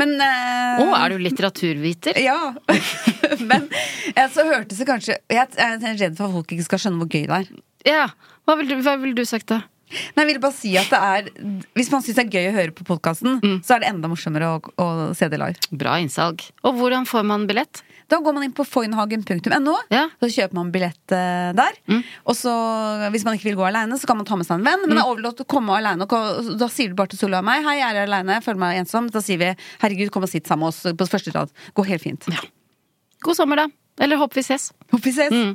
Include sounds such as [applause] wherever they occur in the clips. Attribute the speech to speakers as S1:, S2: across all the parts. S1: Men eh,
S2: Å, er du litteraturviter?
S1: Ja. [laughs] Men eh, så hørtes det kanskje jeg, jeg er redd for at folk ikke skal skjønne hvor gøy det er.
S2: Ja. Hva ville du, hva vil du sagt da?
S1: Nei, jeg vil bare si at det er Hvis man syns det er gøy å høre på podkasten,
S2: Mm.
S1: så er det enda morsommere å, å se det live.
S2: Bra innsalg. Og hvordan får man billett?
S1: Da går man inn på foynhagen.no,
S2: Ja. Mm.
S1: så kjøper man billett eh, der. Og så, hvis man ikke vil gå aleine, så kan man ta med seg en venn. Men
S2: Mm.
S1: det er overlatt å komme aleine. Da sier du bare til Solveig og meg 'Hei, jeg er aleine, føler meg ensom'. Da sier vi 'Herregud, kom og sitt sammen med oss på første rad'. Går helt fint.
S2: God sommer, da. Eller håper vi ses.
S1: Håper vi ses.
S2: Mm.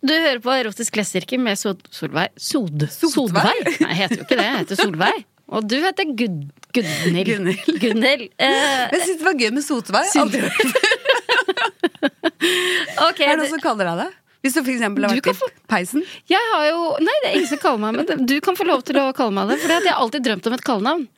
S2: Du hører på Erotisk lesesirkel med Sol Solveig Sod
S1: Sotveig?
S2: Sodveig? Nei, jeg heter jo ikke det. Jeg heter Solveig. Og du heter Gud Gunhild.
S1: Gunhild.
S2: Gunhild. Eh,
S1: Men jeg syns det var gøy med Sotveig.
S2: Syns-
S1: Aldri hørt
S2: ok,
S1: Er det
S2: det-
S1: noen som kaller deg det? Hvis du for eksempel har
S2: Du
S1: vært
S2: kan
S1: i peisen?
S2: jeg har jo Nei, det er ingen som kaller meg men det. Du kan få lov til å kalle meg det, for jeg har alltid drømt om et kallenavn.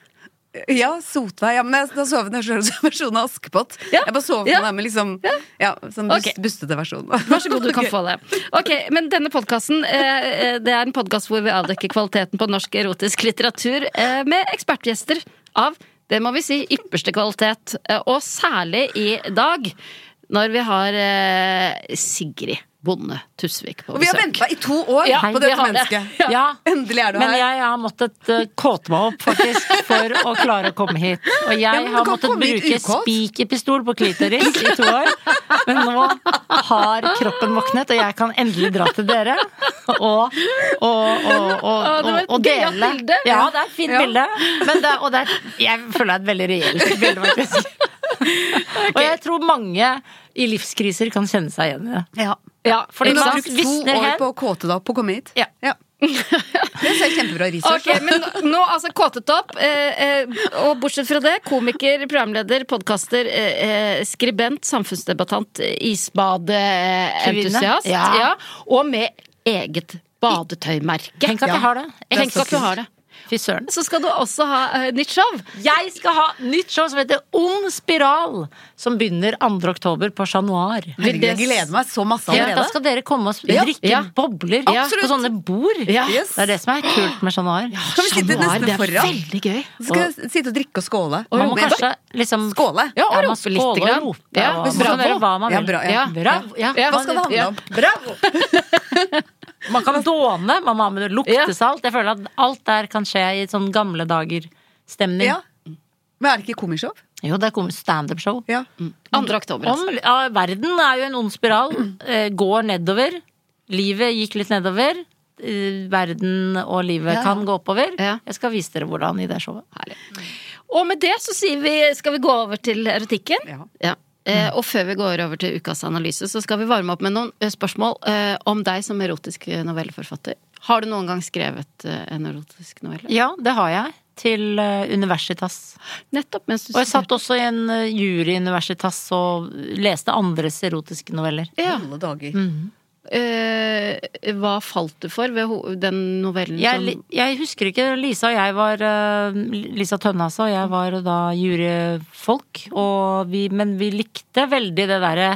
S1: Ja, Sotveig. Ja, men jeg, da sover jeg selv som versjonen av Askepott.
S2: Ja.
S1: Jeg bare sover
S2: Ja.
S1: med deg med liksom ja, sånn bust,
S2: Ok.
S1: bustete versjon.
S2: Vær så god, du
S1: [laughs]
S2: kan få det. Ok, Men denne podkasten eh, eh, det er en podkast hvor vi avdekker kvaliteten på norsk erotisk litteratur eh, med ekspertgjester av det må vi si ypperste kvalitet. Eh, og særlig i dag, når vi har eh, Sigrid Bonde Tusvik på
S1: Og vi har
S2: besøk.
S1: venta i to år
S2: Ja,
S1: på
S2: vi
S1: dette
S2: har det.
S1: mennesket.
S3: Ja.
S1: Endelig er du
S3: Men
S1: her.
S3: jeg har måttet eh, kåte meg opp, faktisk, for å klare å komme hit. Og jeg
S1: men du
S3: har
S1: kan
S3: måttet
S1: komme hit
S3: bruke
S1: ukåt.
S3: spikerpistol på klitoris i to år. Men nå har kroppen våknet, og jeg kan endelig dra til dere. Og, og, og, og,
S2: Å, det
S3: og,
S2: var et
S3: og
S2: gøyalt
S3: dele.
S2: bilde.
S3: Ja, det er et fint
S1: Ja.
S3: bilde. Men det, er- og det er, jeg føler det er et veldig reelt bilde,
S1: [laughs]
S3: faktisk. Og jeg tror mange i livskriser kan kjenne seg igjen i det.
S1: Ja.
S3: Ja,
S1: Men
S3: fordi
S1: du har
S3: man
S1: brukt to
S3: visner
S1: år
S3: hen.
S1: på å kåte deg opp på å komme hit.
S3: Ja.
S1: Det ser kjempebra research.
S2: Ok, men nå altså kåtet opp. Eh, eh, og bortsett fra det, komiker, programleder, podkaster, eh, eh, skribent, samfunnsdebattant, isbadeentusiast.
S3: Kvinne. Ja.
S2: Og med eget badetøymerke.
S3: Tenk at jeg har det.
S2: Tenk at du har det.
S3: Fy søren.
S2: Så skal du også ha eh, nytt show.
S3: Jeg skal ha nytt show som heter Ond spiral, som begynner 2. oktober på Chat Noir.
S1: Herregud, jeg gleder meg så masse
S3: Ja, da
S1: allerede.
S3: skal dere komme og sp-
S2: Ja.
S3: drikke
S2: Ja.
S3: bobler
S2: Absolutt.
S3: på sånne bord.
S2: Ja.
S1: Yes.
S3: Det er det som er kult med Chat
S1: Kan
S3: Noir.
S1: vi sitte
S2: Januar,
S1: nesten
S2: det er
S1: foran?
S2: Veldig gøy.
S1: Så skal jeg sitte og drikke og skåle.
S3: Man må
S1: Men-
S3: kanskje liksom
S1: Skåle.
S2: Ja, og
S3: man
S2: rope
S3: skåler
S2: lite grann.
S3: og roper,
S2: Ja,
S3: og
S2: hvis
S3: man kan
S2: bravo.
S3: gjøre hva man
S1: Ja,
S3: vil.
S1: bra, ja.
S3: Bravo, ja.
S2: Ja.
S1: Hva skal det handle om?
S3: Bravo! Man kan dåne, man må ha med luktesalt. Jeg føler at alt der kan skje i sånn gamle dager-stemning.
S1: Ja. Men er det ikke komishow?
S3: Jo, det kommer standup-show.
S1: Ja.
S2: 2. oktober. Altså.
S3: Om, ja, verden er jo en ond spiral. Eh, går nedover. Livet gikk litt nedover. Eh, Verden og livet
S1: Ja.
S3: kan gå oppover.
S2: Ja.
S3: Jeg skal vise dere hvordan i det showet.
S2: Og med det så sier vi, skal vi gå over til erotikken.
S1: Ja.
S2: Eh, og før vi går over til ukas analyse, så skal vi varme opp med noen eh, spørsmål eh, om deg som erotisk eh, novelleforfatter. Har du noen gang skrevet eh, en erotisk novelle?
S3: Ja, det har jeg. Til eh, Universitas.
S2: Nettopp mens du
S3: Og jeg satt også i en eh, jury i Universitas og leste andres erotiske noveller.
S2: Ja.
S1: Alle dager.
S2: eh, hva falt du for ved ho den novellen
S3: Jeg,
S2: som
S3: li- jeg husker ikke. Lisa og jeg var eh, Lisa Tønne, altså. og Jeg var da juryfolk. Og vi, men vi likte veldig det derre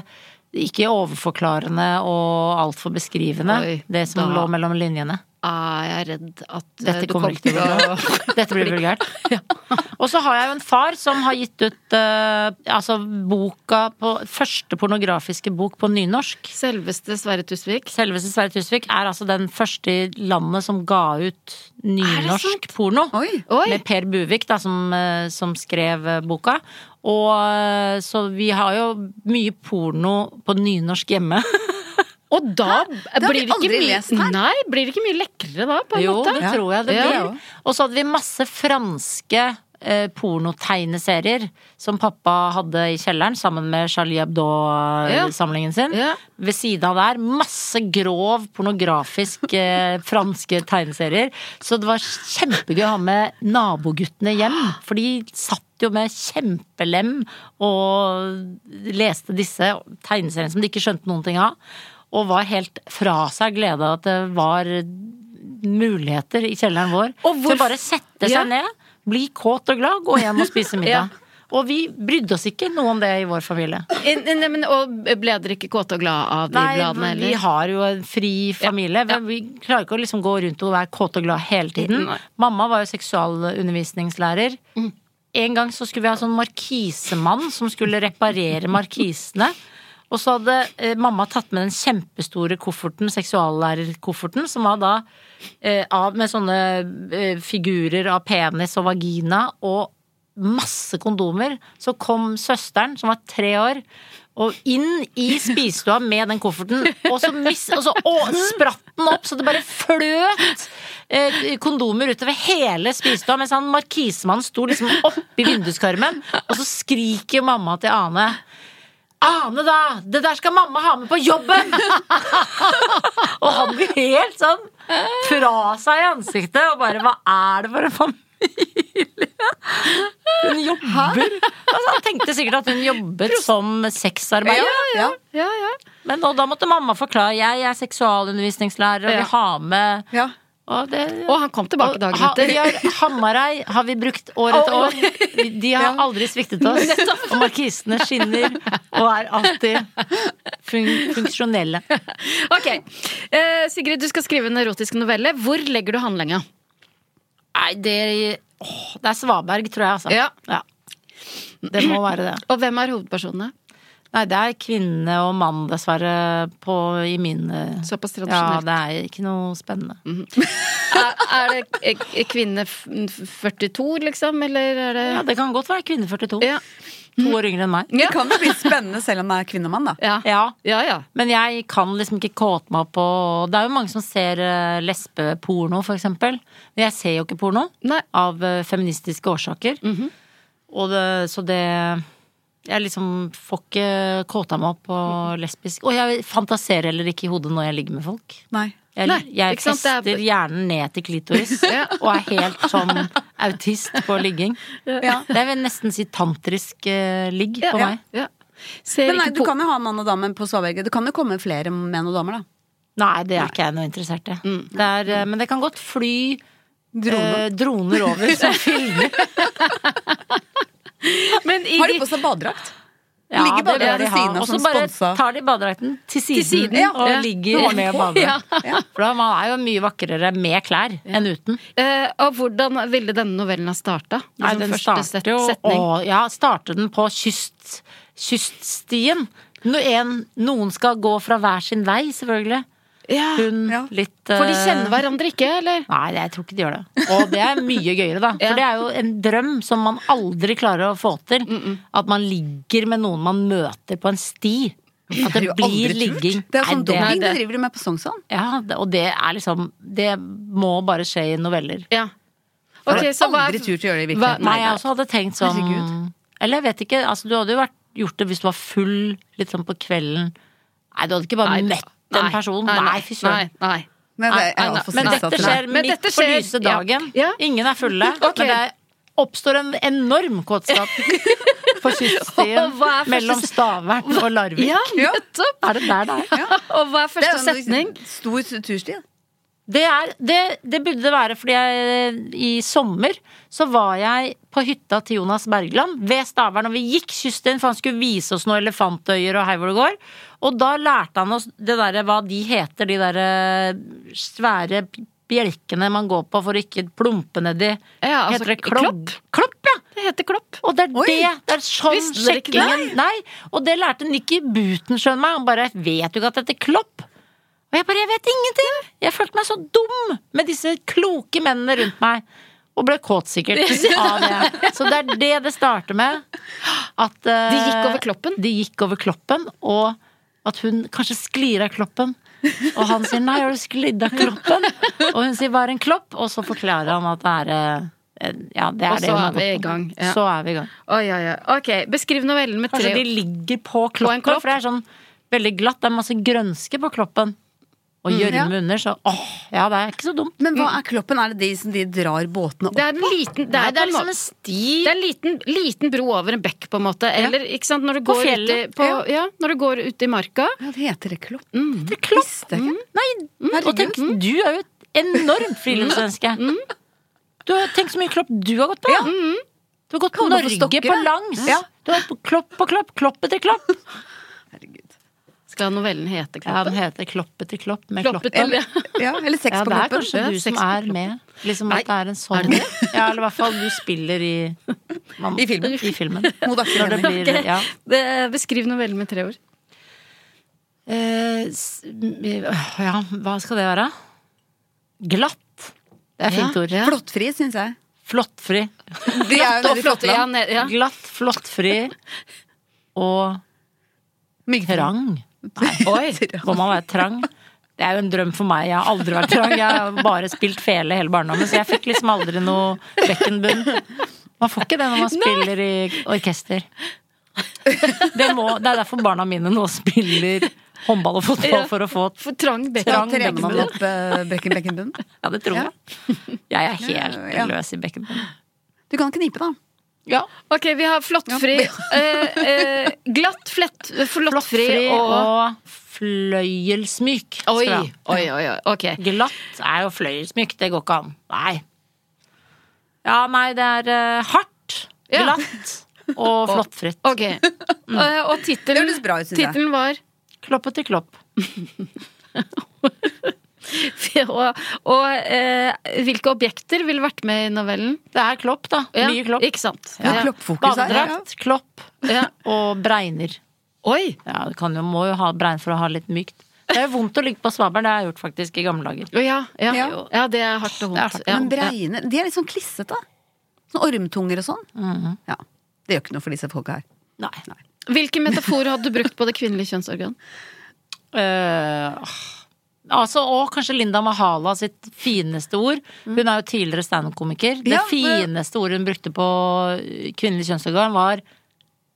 S3: ikke overforklarende og altfor beskrivende.
S2: Oi,
S3: det som
S2: da- Eh,
S3: lå mellom linjene.
S2: er jeg redd at eh,
S3: Dette
S2: du
S3: kommer ikke til å bli
S2: å
S3: bra. [laughs] Dette blir vulgært.
S2: [laughs]
S3: Og så har jeg jo en far som har gitt ut eh, altså boka på Første pornografiske bok på nynorsk.
S2: Selveste Sverre Tusvik.
S3: Selveste Sverre Tusvik er altså den første i landet som ga ut nynorsk porno.
S1: Oi.
S2: Oi.
S3: Med Per Buvik, da, som, eh, som skrev eh, boka. Og eh, så vi har jo mye porno på nynorsk hjemme. [laughs]
S2: Og da
S1: har vi
S2: blir det ikke
S1: aldri
S2: mye
S1: lest her.
S2: Nei, blir det ikke mye lekrere da, på en
S3: Jo,
S2: måte?
S3: det tror jeg det
S2: Ja.
S3: blir. Og så hadde vi masse franske eh, pornotegneserier som pappa hadde i kjelleren sammen med Charlie
S2: Ja.
S3: Hebdo-samlingen sin.
S2: Ja.
S3: Ved siden av der masse grov pornografisk eh, franske tegneserier. Så det var kjempegøy å ha med naboguttene hjem, for de satt jo med kjempelem og leste disse tegneseriene som de ikke skjønte noen ting av. Og var helt fra seg glede av at det var muligheter i kjelleren vår
S2: Og hvor-
S3: til å bare sette seg
S2: Ja.
S3: ned, bli kåt og glad, gå hjem og spise middag.
S2: [laughs] Ja.
S3: Og vi brydde oss ikke noe om det i vår familie.
S2: Eh, Nei, nei, men, og ble dere ikke kåte og glad av de bladene
S3: Nei,
S2: heller?
S3: vi har jo en fri familie.
S2: Ja.
S3: men Vi klarer ikke å liksom gå rundt og være kåte og glad hele tiden.
S2: Nei. Mm.
S3: Mamma var jo seksualundervisningslærer. En gang så skulle vi ha sånn markisemann som skulle reparere markisene. Og så hadde eh, mamma tatt med den kjempestore kofferten, seksuallærerkofferten, som var da eh, av, med sånne eh, figurer av penis og vagina og masse kondomer. Så kom søsteren, som var tre år, og inn i spisestua med den kofferten. Og så, mis, og så å, spratt den opp, så det bare fløt eh, kondomer utover hele spisestua. Mens han markisemannen sto liksom oppi vinduskarmen, og så skriker mamma til Ane. Ane, da! Det der skal mamma ha med på jobben!
S2: [laughs]
S3: og han blir helt sånn fra seg i ansiktet og bare Hva er det for en familie? Hun jobber altså, Han tenkte sikkert at hun jobbet som sexarbeider.
S1: ja.
S2: Ja, ja.
S3: Men og da måtte mamma forklare. Jeg er seksualundervisningslærer, og
S2: Ja.
S3: vi har med
S1: ja.
S3: og det,
S2: Og han kom tilbake dagen
S3: ha,
S2: etter.
S3: vi har- Hamarøy har vi brukt år etter
S2: Å,
S3: år. Vi- De har aldri sviktet [laughs] oss. Og markisene skinner og er alltid fun funksjonelle.
S2: [laughs] Ok. Eh, Sigrid, du skal skrive en erotisk novelle. Hvor legger du handlinga?
S3: Nei, det, åh, det er Svaberg, tror jeg, altså.
S2: Ja.
S3: Det må være det.
S2: Og hvem er hovedpersonene?
S3: Nei, det er kvinne og mann, dessverre, på, i min eh,
S2: Såpass
S3: Ja,
S2: tradisjonelt.
S3: det er ikke noe spennende.
S2: [laughs] Er, er det eh, kvinne f- 42, liksom? Eller er det
S3: Ja, Det kan godt være kvinne 42.
S2: Ja.
S3: To år yngre enn meg.
S1: Det kan jo bli spennende selv om det er kvinnemann, da.
S2: Ja.
S3: Ja.
S2: ja, ja.
S3: Men jeg kan liksom ikke kåte meg på Det er jo mange som ser eh, lesbeporno, for eksempel. Men jeg ser jo ikke porno.
S2: Nei.
S3: Av eh, feministiske årsaker.
S2: Mhm.
S3: Og det, så det Jeg liksom får ikke kåta meg opp på
S2: Mm.
S3: lesbisk Og jeg fantaserer heller ikke i hodet når jeg ligger med folk.
S1: Nei.
S3: Jeg,
S2: Nei,
S3: jeg
S2: ikke sant,
S3: fester
S2: det er-
S3: hjernen ned til klitoris
S2: [laughs] Ja.
S3: og er helt sånn autist på ligging. Det er vel nesten si tantrisk eh, ligg på
S2: ja,
S3: meg.
S2: ja. Ser
S1: Men nei,
S2: ikke
S1: du
S2: på-
S1: kan jo ha mann og dame på svaberget. Det kan jo komme flere menn og damer, da.
S3: Nei, det er ikke jeg noe interessert i. Det er, eh, men det kan godt fly
S1: Drone.
S3: eh, droner over som filmer.
S2: Men i
S1: Har de
S2: de-
S1: på seg badedrakt?
S3: Ja,
S1: Ligger
S3: det
S1: badedrakten
S3: bør de
S1: ved
S3: ha.
S1: siden av
S3: Og så
S1: som
S3: bare
S1: sponsa?
S3: tar de badedrakten til siden,
S2: siden, ja.
S3: og
S2: Ja.
S3: ligger med
S2: Ja.
S3: badedrakt. For da, man er jo mye vakrere med klær enn uten.
S2: Eh, og hvordan ville denne novellen ha starta?
S3: Nei, den starter jo å, Ja, starter den på kyst, kyststien. No, en, noen skal gå fra hver sin vei, selvfølgelig.
S2: Ja.
S3: Hun
S1: Ja.
S3: litt
S2: For de
S3: eh,
S2: kjenner hverandre ikke, eller?
S3: Nei, jeg tror ikke de gjør det. [laughs] Og det er mye gøyere, da. For det er jo en drøm som man aldri klarer å få til. At man ligger med noen man møter på en sti. At
S1: Det er
S3: det
S1: jo aldri
S3: blir
S1: turt.
S3: ligging.
S1: Det er jo
S3: Nei,
S1: sånn
S3: det-
S1: dobbing du
S2: det.
S1: driver med på Sognsvann.
S3: Ja, det- og det er liksom Det må bare skje i noveller.
S2: Ja.
S1: Har
S2: Ok, så hva er-
S1: aldri tur til å gjøre det i
S2: hva-
S1: virkeligheten.
S3: Nei, jeg også hadde tenkt sånn
S1: Herregud.
S3: Eller jeg vet ikke, altså du hadde jo vært, gjort det hvis du var full litt sånn på kvelden. Nei, du hadde ikke bare
S2: Nei,
S3: møtt en person. Nei, fy søren.
S2: Nei, nei.
S1: Men det er
S2: Nei, nei,
S1: alt for
S3: Men
S1: stressa
S3: dette
S1: til det.
S3: skjer
S2: Men
S3: midt
S2: dette
S3: på
S2: skjer-
S3: lyse
S2: ja.
S3: dagen.
S2: Ja.
S3: Ingen er fulle.
S2: [laughs] Ok. [laughs]
S3: Men det oppstår en enorm kåtskap. på kyststien
S2: Og hva er første
S3: mellom
S2: se-
S3: Stavern og Larvik.
S2: Ja, nettopp!
S3: Er det der det er?
S2: [laughs] Og hva er
S1: Det
S2: første
S1: er jo en
S2: setning?
S1: Stor tursti. da.
S3: Det, er, det, det burde det være, fordi jeg, i sommer så var jeg på hytta til Jonas Bergland ved Stavern, og vi gikk kyststien, for han skulle vise oss noen elefantøyer og hei hvor det går. Og da lærte han oss det derre hva de heter, de derre svære bjelkene man går på for å ikke plumpe nedi.
S2: Ja, altså,
S3: heter det
S2: klopp?
S3: klopp? Klopp, ja!
S2: Det heter klopp.
S3: Og det er
S1: Oi!
S3: det! Det er sånn
S2: Visste dere ikke det?
S3: sjekkingen Nei! Og det lærte Nikki Buten, skjønner meg. Han bare 'Vet du ikke at dette er klopp?' Og jeg bare 'Jeg vet ingenting!' Jeg følte meg så dum med disse kloke mennene rundt meg. Og ble kåt sikkert
S2: [laughs]
S3: av det. Så det er det det starter med. At eh,
S2: De gikk over kloppen?
S3: De gikk over kloppen, og at hun kanskje sklir av kloppen. Og han sier 'nei, har du sklidd av kloppen?' Og hun sier 'hva er en klopp?' Og så forklarer han at det er eh, ja, det er
S2: Og
S3: det
S2: så
S3: hun har
S2: er vi
S3: gått
S2: i
S3: på.
S2: gang, ja.
S3: Så er vi i gang.
S2: Oi, oi, oi. Ok, Beskriv novellen med
S3: Kanskje
S2: tre
S3: de ligger på
S2: en klopp?
S3: kloppen, for det er sånn veldig glatt. Det er masse grønske på kloppen. Og gjørme under, så åh, ja, det er ikke så dumt.
S1: Men hva er kloppen? Er det de som de drar båtene opp?
S2: Det er en liten Det
S3: Nei,
S2: er, på
S3: det er
S2: en
S3: liksom
S2: måte-
S3: en sti
S2: det er en liten, liten bro over en bekk, på en måte. Eller, ikke sant, når du går
S3: fjellet.
S2: Ute, på, ja, når du går ute i marka.
S1: Ja, det heter det klopp.
S3: til klopp.
S1: Visste jeg ikke.
S3: Nei, og tenk, du er jo et enormt [laughs] friluftsmenneske. Du har tenkt så mye klopp du har gått på. Mm. Du har gått
S1: Kan gå på
S3: Norge
S1: stokker,
S3: på
S1: ja.
S3: langs.
S1: Ja.
S3: Du har vært på klopp på klopp, klopp etter klopp.
S2: Skal novellen hete
S3: Ja, den
S2: Kloppen?
S3: heter Klopp etter klopp med
S2: Kloppet,
S3: kloppen.
S2: eller?
S1: Ja, eller sex
S3: Ja,
S1: på
S3: det er
S1: kloppen.
S3: kanskje
S2: Ja,
S3: du som
S2: sex på
S3: er med. Liksom
S2: Nei,
S3: at det er en
S2: er
S3: sånn
S2: det
S3: Ja, eller i hvert fall du spiller i man,
S1: I filmen.
S3: I [laughs] filmen.
S1: Mot Aksel
S3: Når det
S1: Hennie.
S3: blir ja.
S2: Det- Beskriv novellen med tre ord.
S3: Eh, s- ja, hva skal det være? Glatt. Det er fint
S2: Ja,
S3: ord.
S2: ja.
S1: Flottfri, syns jeg.
S3: Flottfri.
S1: De er jo
S2: Og
S1: veldig
S2: flott,
S1: flotte.
S2: ja,
S1: da.
S2: ned- ja.
S3: Glatt, flottfri [laughs] og
S1: Myggfri.
S3: trang. Nei,
S1: [laughs]
S3: oi, [laughs] må man være trang? Det er jo en drøm for meg. Jeg har aldri vært trang. Jeg har bare spilt fele hele barndommen, så jeg fikk liksom aldri noe bekkenbunn. Man får ikke det når man spiller i orkester. Det, må, det er derfor barna mine nå spiller håndball og fotball for å få
S2: For trang bekk.
S1: Da
S3: trang
S1: trener man
S3: bekkenbunn.
S1: opp eh, bekken, bekkenbunnen.
S3: Ja, det tror jeg. Jeg er helt
S1: Ja.
S3: løs i bekkenbunnen.
S1: Du kan knipe, da.
S3: Ja.
S2: Ok, vi har flottfri,
S3: [laughs]
S2: eh, eh, glatt, flett, flottfri
S3: Fri
S2: og
S3: og fløyelsmyk. skal
S2: Oi,
S3: jeg ha.
S2: oi, oi. oi, Ok.
S3: Glatt er jo fløyelsmykt, det går ikke an. Nei. Ja, nei, det er eh, hardt,
S2: Ja.
S3: glatt og flottfritt. [laughs]
S2: Ok.
S3: Mm.
S2: Eh, og tittelen
S1: Det høres bra ut, synes jeg.
S2: tittelen var [laughs]
S3: Klopp etter klopp.
S2: Og, og eh, hvilke objekter ville vært med i novellen?
S3: Det er klopp, da.
S2: Ja,
S3: Mye klopp.
S2: Ikke sant?
S1: Ja.
S2: Ja.
S1: Kloppfokus her. ja.
S3: Badedrakt, klopp
S2: Ja.
S3: og bregner.
S2: Oi!
S3: Ja, du kan jo, må jo ha bregn for å ha litt mykt. Det er jo vondt å ligge på svabelen, det har jeg gjort faktisk i gamle dager.
S2: Å, Ja, ja.
S1: Ja.
S2: ja, det er hardt og
S3: Det er
S2: vondt.
S3: hardt.
S2: Ja.
S1: Men breiene, de er litt sånn klissete. Sånn ormtunger og sånn.
S3: Mhm.
S1: Ja. Det gjør ikke noe for disse folka her.
S3: Nei.
S2: Ja. Hvilke metaforer hadde du brukt på det kvinnelige kjønnsorgan?
S3: Eh, altså, og kanskje Linda Mahala sitt fineste ord. Hun er jo tidligere standup-komiker. Det
S1: Ja, det-
S3: fineste ordet hun brukte på eh, kvinnelig kjønnsorgan, var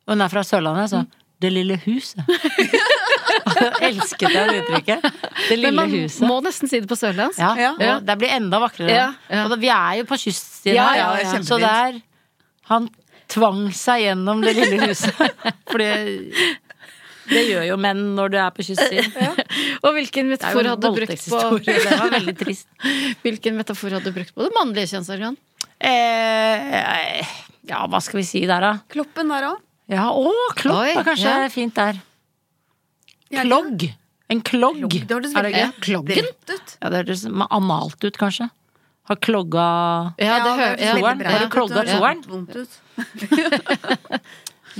S3: Hun er fra Sørlandet, så 'Det lille huset'. [laughs] Elsket jeg det uttrykket. Det [laughs] lille
S2: Men man
S3: huset.
S2: må nesten si det på sørlandsk.
S3: Ja,
S1: Ja.
S3: Og det blir enda vakrere.
S2: Ja, ja.
S3: Og da, vi er jo på kyststien
S2: Ja,
S3: her,
S2: ja,
S1: ja, kjempefint.
S3: så der Han tvang seg gjennom det lille huset. [laughs] For det, det gjør jo menn når du er på kyststien.
S2: Og hvilken
S3: Det er
S2: metafor
S3: jo en
S2: hadde du brukt på
S3: voldtektshistorie. Det var veldig trist.
S2: [laughs] Hvilken metafor hadde du brukt på det mannlige kjønnsorgan?
S3: [laughs] Eh, ja, hva skal vi si der, da?
S1: Kloppen der òg.
S3: Ja, å, klopp
S2: Oi,
S3: er kanskje
S2: ja.
S3: fint der.
S1: Ja,
S3: Klogg. En klogg.
S1: Det hørtes
S3: Er det
S1: veldig
S3: gøy? Kloggen?
S1: bredt ut.
S3: Ja, det hørtes analt ut, kanskje. Har klogga
S2: Ja, det hø-
S1: hørtes
S2: ja.
S1: veldig
S3: Toeren.
S1: bredt
S3: Har du
S1: ut,
S3: klogga
S1: det hørtes
S3: toeren?
S1: vondt ut.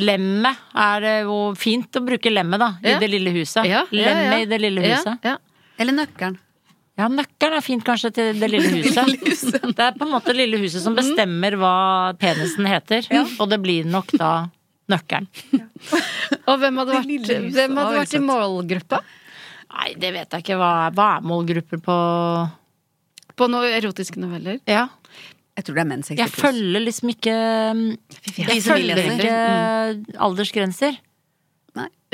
S3: Lemmet er det jo fint å bruke lemmet, da. I
S2: Ja.
S3: det lille huset.
S2: Ja, ja, ja.
S3: Lemmet i det lille huset.
S2: Ja, ja.
S1: Eller nøkkelen.
S3: Ja, nøkkelen er fint kanskje til det [laughs] lille huset. Mm. Det er på en måte lille huset som bestemmer hva penisen heter, og det blir nok da nøkkelen.
S2: Og hvem hadde
S1: lille
S2: vært,
S1: huset,
S2: hvem
S1: ja,
S2: hadde
S1: ikke
S2: vært i
S1: sant.
S2: målgruppa?
S3: Nei, det vet jeg ikke. Hva, hva er målgrupper på
S2: På noen erotiske noveller?
S3: Ja.
S1: Jeg tror det er menn 60
S3: Jeg følger liksom ikke Jeg
S1: som vil
S3: følger
S1: leser.
S3: ikke uh, aldersgrenser.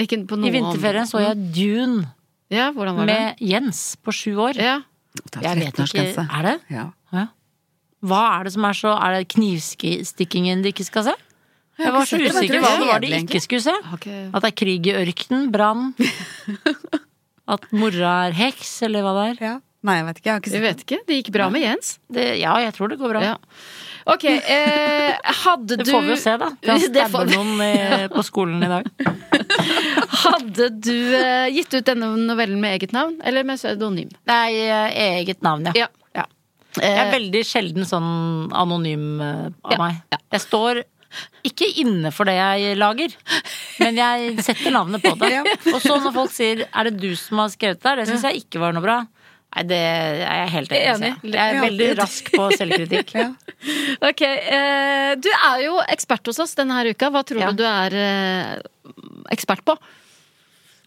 S2: Ikke på noen
S3: I vinterferien så jeg Dune
S2: Ja, hvordan var det?
S3: med Jens på sju år.
S2: Ja.
S3: Jeg vet ikke Er det?
S1: Ja.
S3: Hva er det som er så Er det knivstikkingen de ikke skal se? Jeg var
S1: sett det,
S3: så
S1: men
S3: usikker
S1: jeg tror
S3: hva
S1: det er
S3: det var de
S1: kjedelig,
S3: ikke skulle se.
S2: har ikke-
S3: At det er krig i ørkenen, brann. [laughs] At mora er heks, eller hva det er.
S1: Ja. Nei, jeg vet ikke. Jeg har ikke
S2: Vi
S1: sett det.
S2: vet ikke. Det gikk bra med Jens.
S3: Det, ja, jeg tror det går bra.
S2: Ja. Ok, eh, hadde du
S3: [laughs] Det får vi jo se, da. Til han
S2: Det får
S3: stabber
S2: vi-
S3: noen eh, på skolen i dag.
S2: [laughs] Hadde du eh, gitt ut denne novellen med eget navn, eller med pseudonym?
S3: Nei, eh, eget navn, ja.
S2: Ja. Eh,
S3: Jeg er veldig sjelden sånn anonym eh, av
S2: Ja,
S3: meg. Jeg står ikke inne for det jeg lager, men jeg setter navnet på det. Og så når folk sier 'er det du som har skrevet det her', det syns jeg ikke var noe bra. Nei, det er jeg helt enig
S2: Enig.
S3: i. Jeg er veldig rask på selvkritikk.
S2: Ok, eh, Du er jo ekspert hos oss denne her uka. Hva tror
S3: Ja.
S2: du du er eh, ekspert på?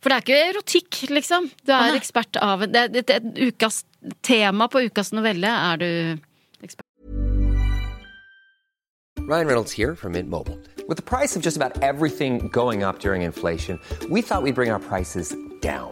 S2: For det er ikke erotikk, liksom. Du er ekspert av det, det, det, ukas Tema på ukas novelle er du
S4: Ryan Reynolds here from Mint Mobile. With the price of just about everything going up during inflation, we thought we'd bring our prices down.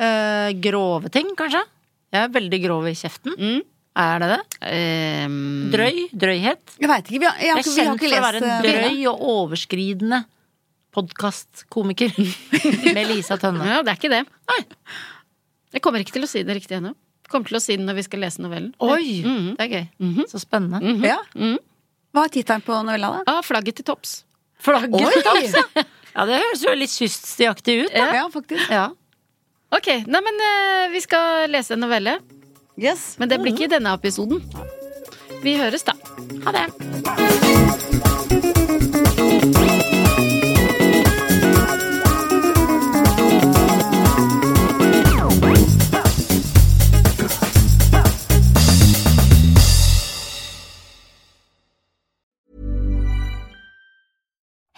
S3: Eh, grove ting, kanskje? Jeg er veldig grov i kjeften. Er det det?
S2: ehm,
S3: Drøy? Drøyhet?
S1: Jeg vet ikke. Vi har, jeg har,
S3: Jeg er
S1: ikke- vi har
S3: kjent
S1: ikke
S3: for å
S1: lest
S3: være en
S1: eh,
S3: drøy og overskridende podkastkomiker med Lisa Tønne.
S2: Ja, det er ikke det. Jeg kommer ikke til å si det riktig ennå. Kommer til å si det når vi skal lese novellen. Mhm,
S3: Oi! Mhm. Det er gøy. Så spennende.
S1: Ja.
S3: Mhm.
S1: Hva er tittelen på novella, da?
S2: Ah, flagget til topps.
S3: Flagget
S1: Oi!
S3: til topps, ja. ja! Det høres jo litt kyststiaktig ut. Da.
S1: Ja, faktisk.
S3: Ja.
S2: Ok, nei, men eh, vi skal lese en novelle.
S1: Yes.
S2: Men det blir ikke i denne episoden. Vi høres, da. Ha det.